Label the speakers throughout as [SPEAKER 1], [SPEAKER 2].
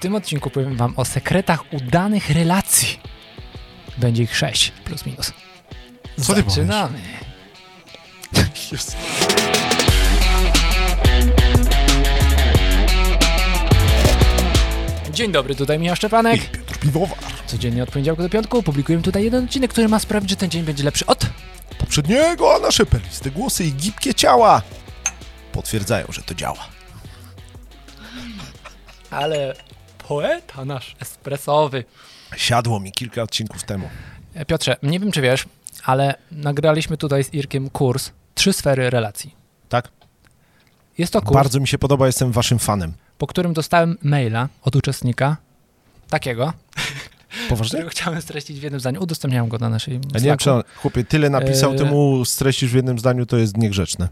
[SPEAKER 1] tym odcinku powiem Wam o sekretach udanych relacji. Będzie ich sześć, plus minus.
[SPEAKER 2] Co ty
[SPEAKER 1] Zaczynamy. Dzień dobry, tutaj Michał Szczepanek.
[SPEAKER 2] Piotr Piwowar.
[SPEAKER 1] Codziennie od poniedziałku do piątku publikujemy tutaj jeden odcinek, który ma sprawić, że ten dzień będzie lepszy od...
[SPEAKER 2] Poprzedniego, a nasze perliste głosy i gibkie ciała potwierdzają, że to działa.
[SPEAKER 1] Ale poeta nasz espresowy.
[SPEAKER 2] Siadło mi kilka odcinków temu.
[SPEAKER 1] E, Piotrze, nie wiem czy wiesz, ale nagraliśmy tutaj z Irkiem kurs Trzy sfery relacji.
[SPEAKER 2] Tak?
[SPEAKER 1] Jest to kurs,
[SPEAKER 2] Bardzo mi się podoba, jestem waszym fanem.
[SPEAKER 1] po którym dostałem maila od uczestnika, takiego,
[SPEAKER 2] Poważnie?
[SPEAKER 1] którego chciałem streścić w jednym zdaniu. Udostępniałem go na naszej
[SPEAKER 2] Ja nie wiem,
[SPEAKER 1] Slacku.
[SPEAKER 2] czy on, chłopie, tyle napisał,
[SPEAKER 1] Eee.
[SPEAKER 2] temu streścisz w jednym zdaniu, to jest niegrzeczne.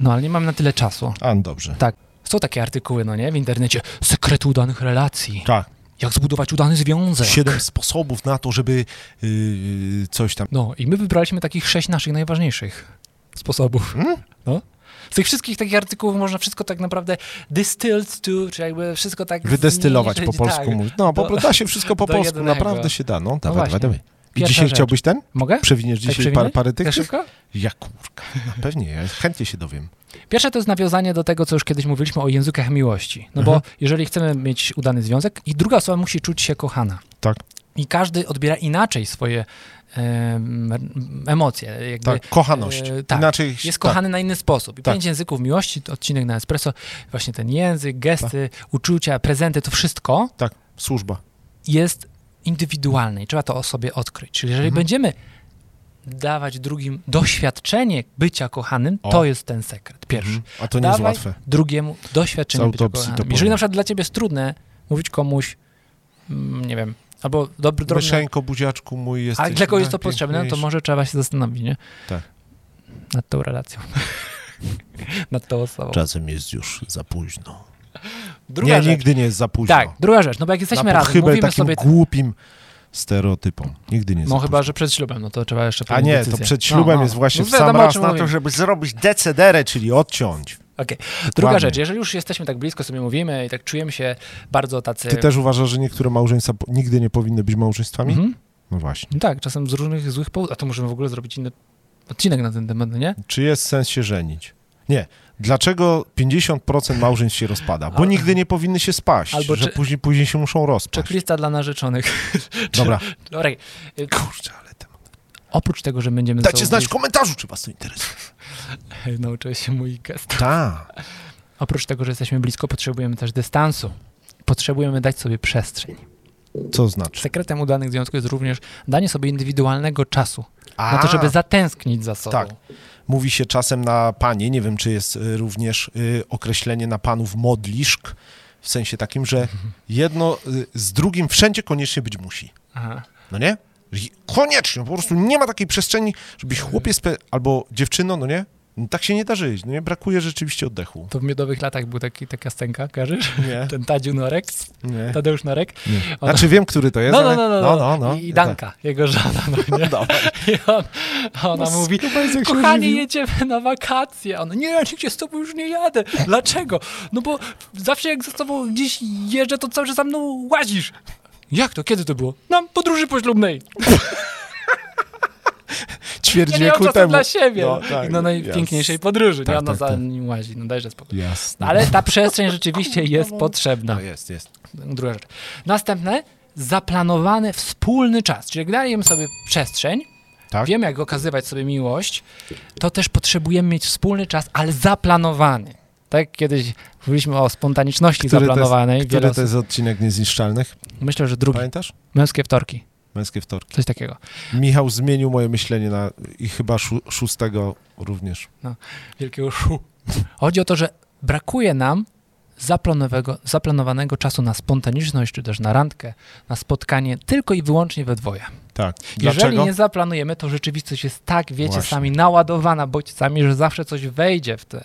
[SPEAKER 1] No, ale nie mam na tyle czasu.
[SPEAKER 2] A, no dobrze.
[SPEAKER 1] Tak, są takie artykuły, no nie, w internecie. Sekret udanych relacji.
[SPEAKER 2] Tak.
[SPEAKER 1] Jak zbudować udany związek.
[SPEAKER 2] Siedem sposobów na to, żeby yy, coś tam...
[SPEAKER 1] No i my wybraliśmy takich sześć naszych najważniejszych sposobów.
[SPEAKER 2] Hmm?
[SPEAKER 1] No. Z tych wszystkich takich artykułów można wszystko tak naprawdę distilled to, czy jakby wszystko tak...
[SPEAKER 2] Wydestylować po
[SPEAKER 1] zmniejszyć,
[SPEAKER 2] polsku.
[SPEAKER 1] tak.
[SPEAKER 2] mówić. No, po
[SPEAKER 1] Do-
[SPEAKER 2] prostu da się wszystko po
[SPEAKER 1] do
[SPEAKER 2] polsku,
[SPEAKER 1] jednego.
[SPEAKER 2] naprawdę się da. No, dawaj,
[SPEAKER 1] właśnie.
[SPEAKER 2] dawaj, dawaj. I
[SPEAKER 1] Pierwsza
[SPEAKER 2] dzisiaj
[SPEAKER 1] rzecz.
[SPEAKER 2] chciałbyś ten?
[SPEAKER 1] Mogę?
[SPEAKER 2] Przewiniesz
[SPEAKER 1] Tak
[SPEAKER 2] dzisiaj
[SPEAKER 1] przewinę?
[SPEAKER 2] par, parę tych?
[SPEAKER 1] tak
[SPEAKER 2] tych?
[SPEAKER 1] szybko?
[SPEAKER 2] Ja kurka, no pewnie, ja chętnie się dowiem.
[SPEAKER 1] Pierwsze to jest nawiązanie do tego, co już kiedyś mówiliśmy o językach miłości. No
[SPEAKER 2] Mhm.
[SPEAKER 1] bo jeżeli chcemy mieć udany związek i druga osoba musi czuć się kochana.
[SPEAKER 2] Tak.
[SPEAKER 1] I każdy odbiera inaczej swoje em, emocje. Jakby,
[SPEAKER 2] Tak, kochaność.
[SPEAKER 1] e, tak.
[SPEAKER 2] Inaczej
[SPEAKER 1] Jest
[SPEAKER 2] tak.
[SPEAKER 1] kochany na inny sposób. I
[SPEAKER 2] Tak.
[SPEAKER 1] pięć języków miłości, to odcinek na Espresso, właśnie ten język, gesty, uczucia, prezenty, to wszystko
[SPEAKER 2] Tak, służba.
[SPEAKER 1] jest indywidualne i trzeba to o sobie odkryć. Czyli jeżeli
[SPEAKER 2] Mhm.
[SPEAKER 1] będziemy dawać drugim doświadczenie bycia kochanym,
[SPEAKER 2] O.
[SPEAKER 1] to jest ten sekret, pierwszy.
[SPEAKER 2] Mhm. A to nie
[SPEAKER 1] Dawaj
[SPEAKER 2] jest łatwe.
[SPEAKER 1] drugiemu doświadczenie
[SPEAKER 2] Z
[SPEAKER 1] bycia
[SPEAKER 2] autopsji to
[SPEAKER 1] kochanym.
[SPEAKER 2] powiem.
[SPEAKER 1] Jeżeli na przykład dla ciebie jest trudne mówić komuś, mm, nie wiem, albo dobry, drobny,
[SPEAKER 2] Myszeńko, buziaczku mój jest.
[SPEAKER 1] a dla kogoś jest to potrzebne, no to może trzeba się zastanowić, nie?
[SPEAKER 2] Tak.
[SPEAKER 1] Nad tą relacją. Nad tą osobą.
[SPEAKER 2] Czasem jest już za późno.
[SPEAKER 1] Druga
[SPEAKER 2] nie,
[SPEAKER 1] rzecz.
[SPEAKER 2] nigdy nie jest za późno.
[SPEAKER 1] Tak, druga rzecz, no bo jak jesteśmy
[SPEAKER 2] na
[SPEAKER 1] razem,
[SPEAKER 2] pochybę
[SPEAKER 1] mówimy
[SPEAKER 2] takim
[SPEAKER 1] sobie...
[SPEAKER 2] głupim stereotypom. Nigdy nie jest
[SPEAKER 1] No
[SPEAKER 2] za
[SPEAKER 1] chyba,
[SPEAKER 2] późno.
[SPEAKER 1] że przed ślubem, no to trzeba jeszcze
[SPEAKER 2] A
[SPEAKER 1] podjąć
[SPEAKER 2] nie,
[SPEAKER 1] decyzję.
[SPEAKER 2] to przed ślubem
[SPEAKER 1] No, no.
[SPEAKER 2] jest właśnie
[SPEAKER 1] No
[SPEAKER 2] w sam
[SPEAKER 1] wiadomo, o
[SPEAKER 2] raz
[SPEAKER 1] czym
[SPEAKER 2] na to,
[SPEAKER 1] mówimy.
[SPEAKER 2] żeby zrobić decederę, czyli odciąć.
[SPEAKER 1] Okej. Druga
[SPEAKER 2] Ładnie.
[SPEAKER 1] rzecz, jeżeli już jesteśmy tak blisko, sobie mówimy i tak czujemy się bardzo tacy...
[SPEAKER 2] Ty też uważasz, że niektóre małżeństwa po- nigdy nie powinny być małżeństwami?
[SPEAKER 1] Mhm.
[SPEAKER 2] No właśnie.
[SPEAKER 1] No Tak, czasem z różnych złych powodów, a to możemy w ogóle zrobić inny odcinek na ten temat, no nie?
[SPEAKER 2] Czy jest sens się żenić? Nie. Dlaczego 50% małżeństw się rozpada? Bo
[SPEAKER 1] Al-
[SPEAKER 2] nigdy nie powinny się spaść,
[SPEAKER 1] Albo
[SPEAKER 2] że
[SPEAKER 1] czy-
[SPEAKER 2] później, później się muszą rozpaść.
[SPEAKER 1] Checklista dla narzeczonych.
[SPEAKER 2] Dobra.
[SPEAKER 1] Dobra. y,
[SPEAKER 2] Kurczę, ale temat.
[SPEAKER 1] Oprócz tego, że będziemy... ze
[SPEAKER 2] Dajcie
[SPEAKER 1] sobą
[SPEAKER 2] znać w komentarzu, czy was to interesuje.
[SPEAKER 1] blis- Nauczyłeś się mój gest.
[SPEAKER 2] Tak.
[SPEAKER 1] Oprócz tego, że jesteśmy blisko, potrzebujemy też dystansu. Potrzebujemy dać sobie przestrzeń.
[SPEAKER 2] Co znaczy?
[SPEAKER 1] Sekretem udanych związków jest również danie sobie indywidualnego czasu.
[SPEAKER 2] A,
[SPEAKER 1] Na no to, żeby zatęsknić za sobą.
[SPEAKER 2] Tak. Mówi się czasem na panie, nie wiem, czy jest y, również y, określenie na panów modliszk, w sensie takim, że
[SPEAKER 1] Mhm.
[SPEAKER 2] jedno y, z drugim wszędzie koniecznie być musi.
[SPEAKER 1] Aha.
[SPEAKER 2] No nie? Że je- Koniecznie, po prostu nie ma takiej przestrzeni, żebyś chłopiec pe- albo dziewczyno, no nie? No tak się nie da żyć, no nie? Brakuje rzeczywiście oddechu.
[SPEAKER 1] To w miodowych latach był taki, taka scenka, kojarzysz?
[SPEAKER 2] Nie,
[SPEAKER 1] Ten Tadziu Norek,
[SPEAKER 2] nie.
[SPEAKER 1] Tadeusz Norek.
[SPEAKER 2] nie.
[SPEAKER 1] Ona-
[SPEAKER 2] Znaczy wiem, który to jest,
[SPEAKER 1] No, no,
[SPEAKER 2] ale-
[SPEAKER 1] no, no,
[SPEAKER 2] E. no, no, no.
[SPEAKER 1] I Danka, jego żona. No, nie?
[SPEAKER 2] Dobra.
[SPEAKER 1] I on, a ona
[SPEAKER 2] No,
[SPEAKER 1] mówi,
[SPEAKER 2] skupa jest, jak się
[SPEAKER 1] kochanie,
[SPEAKER 2] ożywił.
[SPEAKER 1] jedziemy na wakacje. A On, nie, ja nigdzie z tobą już nie jadę. Dlaczego? No bo zawsze jak z tobą gdzieś jeżdżę, to cały czas za mną łazisz. Jak to? Kiedy to było? Na podróży poślubnej. Ja
[SPEAKER 2] Ćwierć
[SPEAKER 1] nie mam
[SPEAKER 2] wieku
[SPEAKER 1] czasu
[SPEAKER 2] temu.
[SPEAKER 1] dla siebie.
[SPEAKER 2] No,
[SPEAKER 1] No,
[SPEAKER 2] tak,
[SPEAKER 1] na najpiękniejszej podróży.
[SPEAKER 2] Tak,
[SPEAKER 1] nie ona
[SPEAKER 2] tak,
[SPEAKER 1] za
[SPEAKER 2] tak.
[SPEAKER 1] nim łazi. No dajże spokój. No,
[SPEAKER 2] Jasne.
[SPEAKER 1] Ale ta przestrzeń rzeczywiście jest potrzebna.
[SPEAKER 2] No jest, jest.
[SPEAKER 1] Druga rzecz. Następne, zaplanowany wspólny czas. Czyli jak dajemy sobie przestrzeń,
[SPEAKER 2] Tak?
[SPEAKER 1] wiemy jak okazywać sobie miłość, to też potrzebujemy mieć wspólny czas, ale zaplanowany. Tak jak kiedyś mówiliśmy o spontaniczności
[SPEAKER 2] Który
[SPEAKER 1] zaplanowanej.
[SPEAKER 2] to jest,
[SPEAKER 1] wiele
[SPEAKER 2] który to jest odcinek Niezniszczalnych?
[SPEAKER 1] osób- Myślę, że drugi.
[SPEAKER 2] Pamiętasz?
[SPEAKER 1] Męskie wtorki.
[SPEAKER 2] Męskie wtorki.
[SPEAKER 1] Coś takiego.
[SPEAKER 2] Michał zmienił moje myślenie na, i chyba szó szóstego również.
[SPEAKER 1] Wielkiego szu. Chodzi o to, że brakuje nam zaplanowego, zaplanowanego czasu na spontaniczność, czy też na randkę, na spotkanie tylko i wyłącznie we dwoje.
[SPEAKER 2] Tak.
[SPEAKER 1] Jeżeli
[SPEAKER 2] Dlaczego?
[SPEAKER 1] nie zaplanujemy, to rzeczywistość jest tak, wiecie,
[SPEAKER 2] Właśnie.
[SPEAKER 1] sami naładowana bodźcami, że zawsze coś wejdzie w, te,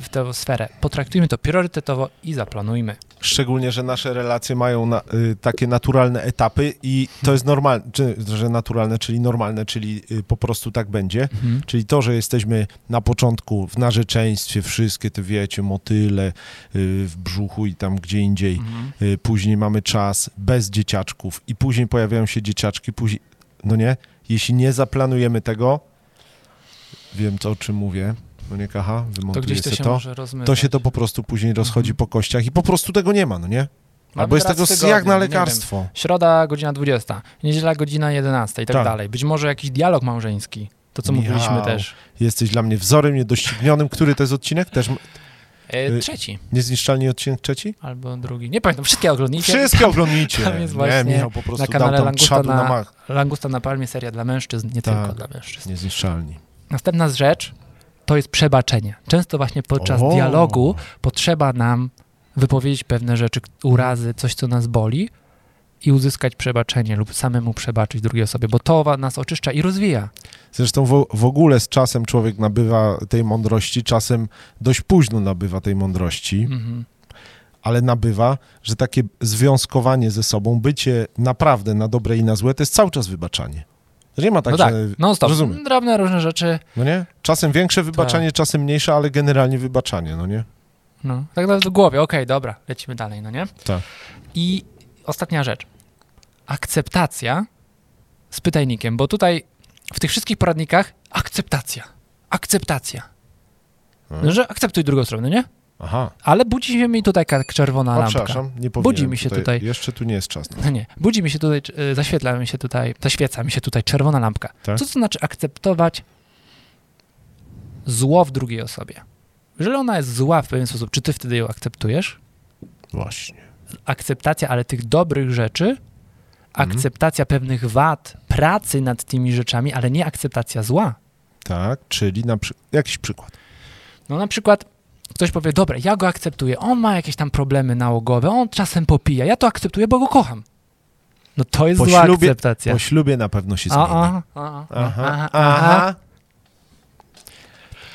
[SPEAKER 1] w tę sferę. Potraktujmy to priorytetowo i zaplanujmy.
[SPEAKER 2] Szczególnie, że nasze relacje mają na, y, takie naturalne etapy i to jest normalne, czy, że naturalne, czyli normalne, czyli y, po prostu tak będzie. Czyli to, że jesteśmy na początku w narzeczeństwie, wszystkie te wiecie, motyle y, w brzuchu i tam gdzie indziej.
[SPEAKER 1] Mhm.
[SPEAKER 2] Y, Później mamy czas bez dzieciaczków i później pojawiają się dzieciaczki, później, no nie? Jeśli nie zaplanujemy tego, wiem co, o czym mówię, no nie kaha,
[SPEAKER 1] To
[SPEAKER 2] wymontuję
[SPEAKER 1] gdzieś to
[SPEAKER 2] se
[SPEAKER 1] się
[SPEAKER 2] to
[SPEAKER 1] może rozmywać.
[SPEAKER 2] to się to po prostu później rozchodzi po kościach i po prostu tego nie ma, no nie?
[SPEAKER 1] Mhm. Mamy
[SPEAKER 2] Albo jest
[SPEAKER 1] raz
[SPEAKER 2] tego
[SPEAKER 1] w tygodniu,
[SPEAKER 2] jak na
[SPEAKER 1] nie wiem.
[SPEAKER 2] lekarstwo.
[SPEAKER 1] Środa, godzina 20, niedziela, godzina 11 i tak,
[SPEAKER 2] Tak.
[SPEAKER 1] dalej. Być może jakiś dialog małżeński, to co
[SPEAKER 2] Michał.
[SPEAKER 1] mówiliśmy też.
[SPEAKER 2] Jesteś dla mnie wzorem niedoścignionym. Który to jest odcinek? Też m-
[SPEAKER 1] E,
[SPEAKER 2] Y-
[SPEAKER 1] trzeci
[SPEAKER 2] niezniszczalny odcinek trzeci?
[SPEAKER 1] albo drugi, nie pamiętam, wszystkie oglądnijcie.
[SPEAKER 2] Wszystkie oglądnijcie.
[SPEAKER 1] tam jest właśnie
[SPEAKER 2] nie, Michał po
[SPEAKER 1] na
[SPEAKER 2] prostu dał
[SPEAKER 1] kanale
[SPEAKER 2] tam
[SPEAKER 1] Langusta
[SPEAKER 2] czadu na...
[SPEAKER 1] na,
[SPEAKER 2] mach.
[SPEAKER 1] Langusta na Palmie, seria dla mężczyzn, nie
[SPEAKER 2] Tak.
[SPEAKER 1] tylko dla mężczyzn.
[SPEAKER 2] Niezniszczalni.
[SPEAKER 1] Następna rzecz to jest przebaczenie. Często właśnie podczas
[SPEAKER 2] O.
[SPEAKER 1] dialogu potrzeba nam wypowiedzieć pewne rzeczy, k- urazy, coś, co nas boli i uzyskać przebaczenie lub samemu przebaczyć drugiej osobie, bo to wa- nas oczyszcza i rozwija.
[SPEAKER 2] Zresztą w, w ogóle z czasem człowiek nabywa tej mądrości, czasem dość późno nabywa tej mądrości,
[SPEAKER 1] Mhm.
[SPEAKER 2] ale nabywa, że takie związkowanie ze sobą, bycie naprawdę na dobre i na złe, to jest cały czas wybaczanie. Nie ma tak,
[SPEAKER 1] no tak,
[SPEAKER 2] że...
[SPEAKER 1] non stop.
[SPEAKER 2] rozumiem.
[SPEAKER 1] Drobne różne rzeczy.
[SPEAKER 2] No nie? Czasem większe wybaczanie,
[SPEAKER 1] Tak.
[SPEAKER 2] czasem mniejsze, ale generalnie wybaczanie, no nie?
[SPEAKER 1] No, tak nawet w głowie, okej, dobra, lecimy dalej, no nie?
[SPEAKER 2] Tak.
[SPEAKER 1] I ostatnia rzecz. Akceptacja z pytajnikiem, bo tutaj w tych wszystkich poradnikach akceptacja, akceptacja.
[SPEAKER 2] Mhm.
[SPEAKER 1] No, że akceptuj drugą stronę, no nie?
[SPEAKER 2] Aha.
[SPEAKER 1] Ale budzi się mi tutaj ka- czerwona
[SPEAKER 2] O,
[SPEAKER 1] lampka.
[SPEAKER 2] przepraszam, nie powinienem
[SPEAKER 1] Budzi mi się tutaj.
[SPEAKER 2] Jeszcze tu nie jest czas.
[SPEAKER 1] No nie, budzi mi się tutaj, cz- y, zaświetla mi się tutaj, zaświeca mi się tutaj czerwona lampka.
[SPEAKER 2] Tak.
[SPEAKER 1] Co to znaczy akceptować zło w drugiej osobie? Jeżeli ona jest zła w pewien sposób, czy ty wtedy ją akceptujesz?
[SPEAKER 2] Właśnie.
[SPEAKER 1] akceptacja, ale tych dobrych rzeczy,
[SPEAKER 2] Mhm.
[SPEAKER 1] akceptacja pewnych wad, pracy nad tymi rzeczami, ale nie akceptacja zła.
[SPEAKER 2] Tak, czyli na przy... jakiś przykład.
[SPEAKER 1] No na przykład ktoś powie, dobra, ja go akceptuję, on ma jakieś tam problemy nałogowe, on czasem popija, ja to akceptuję, bo go kocham. No to jest
[SPEAKER 2] Po
[SPEAKER 1] zła
[SPEAKER 2] ślubie-
[SPEAKER 1] akceptacja.
[SPEAKER 2] Po ślubie na pewno się zmieni.
[SPEAKER 1] a, a, a, a,
[SPEAKER 2] Aha,
[SPEAKER 1] aha, aha.
[SPEAKER 2] aha.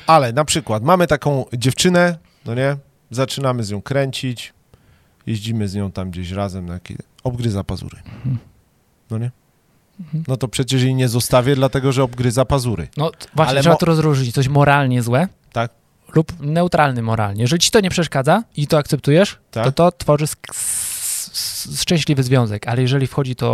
[SPEAKER 2] Ale na przykład mamy taką dziewczynę, no nie? Zaczynamy z nią kręcić, jeździmy z nią tam gdzieś razem, na jakie... obgryza pazury.
[SPEAKER 1] Mhm.
[SPEAKER 2] No nie? No to przecież jej nie zostawię, dlatego że obgryza pazury.
[SPEAKER 1] No t- właśnie,
[SPEAKER 2] Ale
[SPEAKER 1] trzeba
[SPEAKER 2] mo-
[SPEAKER 1] to rozróżnić, coś moralnie złe
[SPEAKER 2] Tak?
[SPEAKER 1] lub neutralny moralnie. Jeżeli ci to nie przeszkadza i to akceptujesz,
[SPEAKER 2] Tak.
[SPEAKER 1] to to tworzy sk- s- s- szczęśliwy związek, ale jeżeli wchodzi to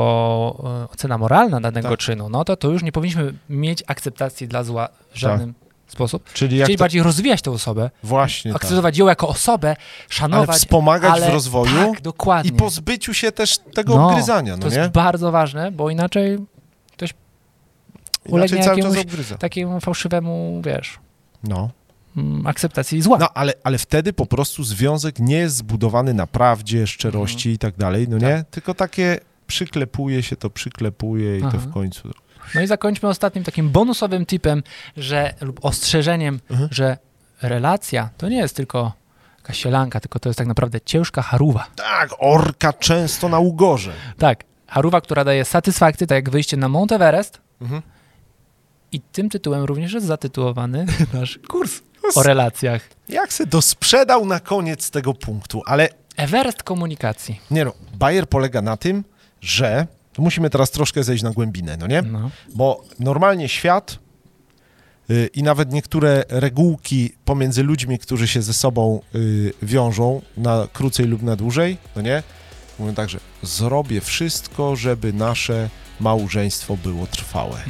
[SPEAKER 1] e, ocena moralna danego
[SPEAKER 2] Tak.
[SPEAKER 1] czynu, no to, to już nie powinniśmy mieć akceptacji dla zła w żadnym sposób.
[SPEAKER 2] Czyli Tak. jak
[SPEAKER 1] Czyli
[SPEAKER 2] to...
[SPEAKER 1] bardziej rozwijać tę osobę,
[SPEAKER 2] Właśnie tak.
[SPEAKER 1] akceptować ją jako osobę, szanować.
[SPEAKER 2] Ale wspomagać
[SPEAKER 1] ale-
[SPEAKER 2] w rozwoju
[SPEAKER 1] Tak, dokładnie.
[SPEAKER 2] i pozbyciu się też tego
[SPEAKER 1] No,
[SPEAKER 2] obgryzania, no
[SPEAKER 1] to
[SPEAKER 2] nie? Tak.
[SPEAKER 1] jest bardzo ważne, bo inaczej ulegnie
[SPEAKER 2] Inaczej cały czas
[SPEAKER 1] jakiemuś- tak.
[SPEAKER 2] obgryza.
[SPEAKER 1] takiemu fałszywemu, wiesz,
[SPEAKER 2] No.
[SPEAKER 1] mm, akceptacji zła.
[SPEAKER 2] No, ale, ale wtedy po prostu związek nie jest zbudowany na prawdzie, szczerości i tak dalej, no nie? Tylko takie przyklepuje się to, przyklepuje i
[SPEAKER 1] Aha.
[SPEAKER 2] to w końcu.
[SPEAKER 1] No i zakończmy ostatnim takim bonusowym tipem, że lub ostrzeżeniem,
[SPEAKER 2] Mhm.
[SPEAKER 1] że relacja to nie jest tylko jakaś sielanka, tylko to jest tak naprawdę ciężka haruwa.
[SPEAKER 2] Tak, orka często na ugorze.
[SPEAKER 1] Tak, haruwa, która daje satysfakcję, tak jak wyjście na Mount Everest.
[SPEAKER 2] Mhm.
[SPEAKER 1] I tym tytułem również jest zatytułowany nasz kurs o relacjach.
[SPEAKER 2] Jak se dosprzedał na koniec tego punktu, ale
[SPEAKER 1] Everest komunikacji.
[SPEAKER 2] nie no, Bayer polega na tym, że tu musimy teraz troszkę zejść na głębinę, no nie?
[SPEAKER 1] No.
[SPEAKER 2] Bo normalnie świat y, i nawet niektóre regułki pomiędzy ludźmi, którzy się ze sobą y, wiążą na krócej lub na dłużej, no nie? Mówią tak, że zrobię wszystko, żeby nasze małżeństwo było trwałe.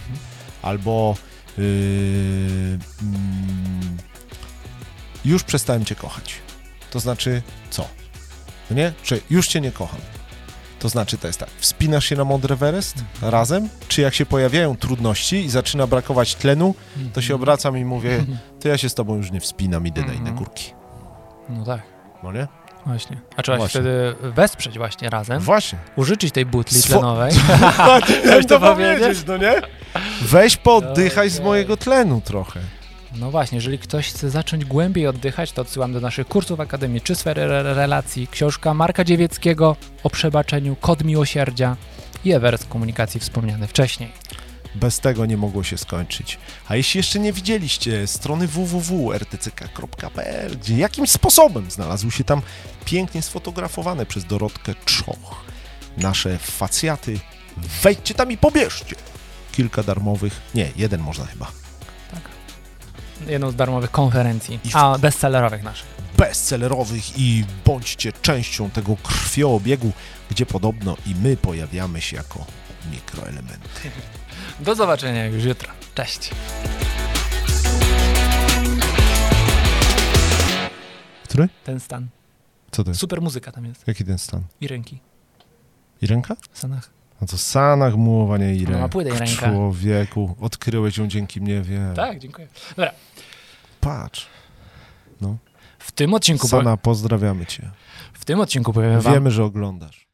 [SPEAKER 2] Albo y, mm, już przestałem cię kochać. To znaczy co? No nie? Że już cię nie kocham. To znaczy, to jest tak, wspinasz się na Mount Everest razem, czy jak się pojawiają trudności i zaczyna brakować tlenu, to się obracam i mówię, to ja się z tobą już nie wspinam, idę na inne
[SPEAKER 1] Mhm.
[SPEAKER 2] górki.
[SPEAKER 1] no tak,
[SPEAKER 2] No nie?
[SPEAKER 1] właśnie. A trzeba się
[SPEAKER 2] Właśnie.
[SPEAKER 1] wtedy wesprzeć właśnie razem,
[SPEAKER 2] Właśnie.
[SPEAKER 1] użyczyć tej butli
[SPEAKER 2] Swo-
[SPEAKER 1] tlenowej.
[SPEAKER 2] Chciałem
[SPEAKER 1] Tak, to powiedzieć?
[SPEAKER 2] no nie? Weź poddychaj z mojego tlenu trochę.
[SPEAKER 1] No właśnie, jeżeli ktoś chce zacząć głębiej oddychać, to odsyłam do naszych kursów Akademii Czy Sfery Re- Relacji, książka Marka Dziewieckiego o przebaczeniu, kod miłosierdzia, i Everest Komunikacji wspomniany wcześniej.
[SPEAKER 2] Bez tego nie mogło się skończyć. A jeśli jeszcze nie widzieliście strony www.rtck.pl, gdzie jakimś sposobem znalazły się tam pięknie sfotografowane przez Dorotkę Czoch nasze facjaty, wejdźcie tam i pobierzcie. Kilka darmowych, nie, jeden można chyba,
[SPEAKER 1] Jedną z darmowych konferencji,
[SPEAKER 2] I w-
[SPEAKER 1] a bestsellerowych naszych.
[SPEAKER 2] bestsellerowych i bądźcie częścią tego krwioobiegu, gdzie podobno i my pojawiamy się jako mikroelement.
[SPEAKER 1] Do zobaczenia już jutro. Cześć.
[SPEAKER 2] Który?
[SPEAKER 1] Ten stan.
[SPEAKER 2] Co to jest?
[SPEAKER 1] Super muzyka tam jest.
[SPEAKER 2] Jaki ten stan?
[SPEAKER 1] I ręki.
[SPEAKER 2] I ręka?
[SPEAKER 1] W Stanach.
[SPEAKER 2] No to sanach mułowania
[SPEAKER 1] Ona
[SPEAKER 2] i
[SPEAKER 1] ma
[SPEAKER 2] ręka.
[SPEAKER 1] No, płytę i ręka.
[SPEAKER 2] Człowieku, odkryłeś ją dzięki mnie, wiem.
[SPEAKER 1] Tak, dziękuję.
[SPEAKER 2] Patrz.
[SPEAKER 1] W tym odcinku, po...
[SPEAKER 2] Sana, pozdrawiamy cię.
[SPEAKER 1] w tym odcinku powiem wam...
[SPEAKER 2] Wiemy, że oglądasz.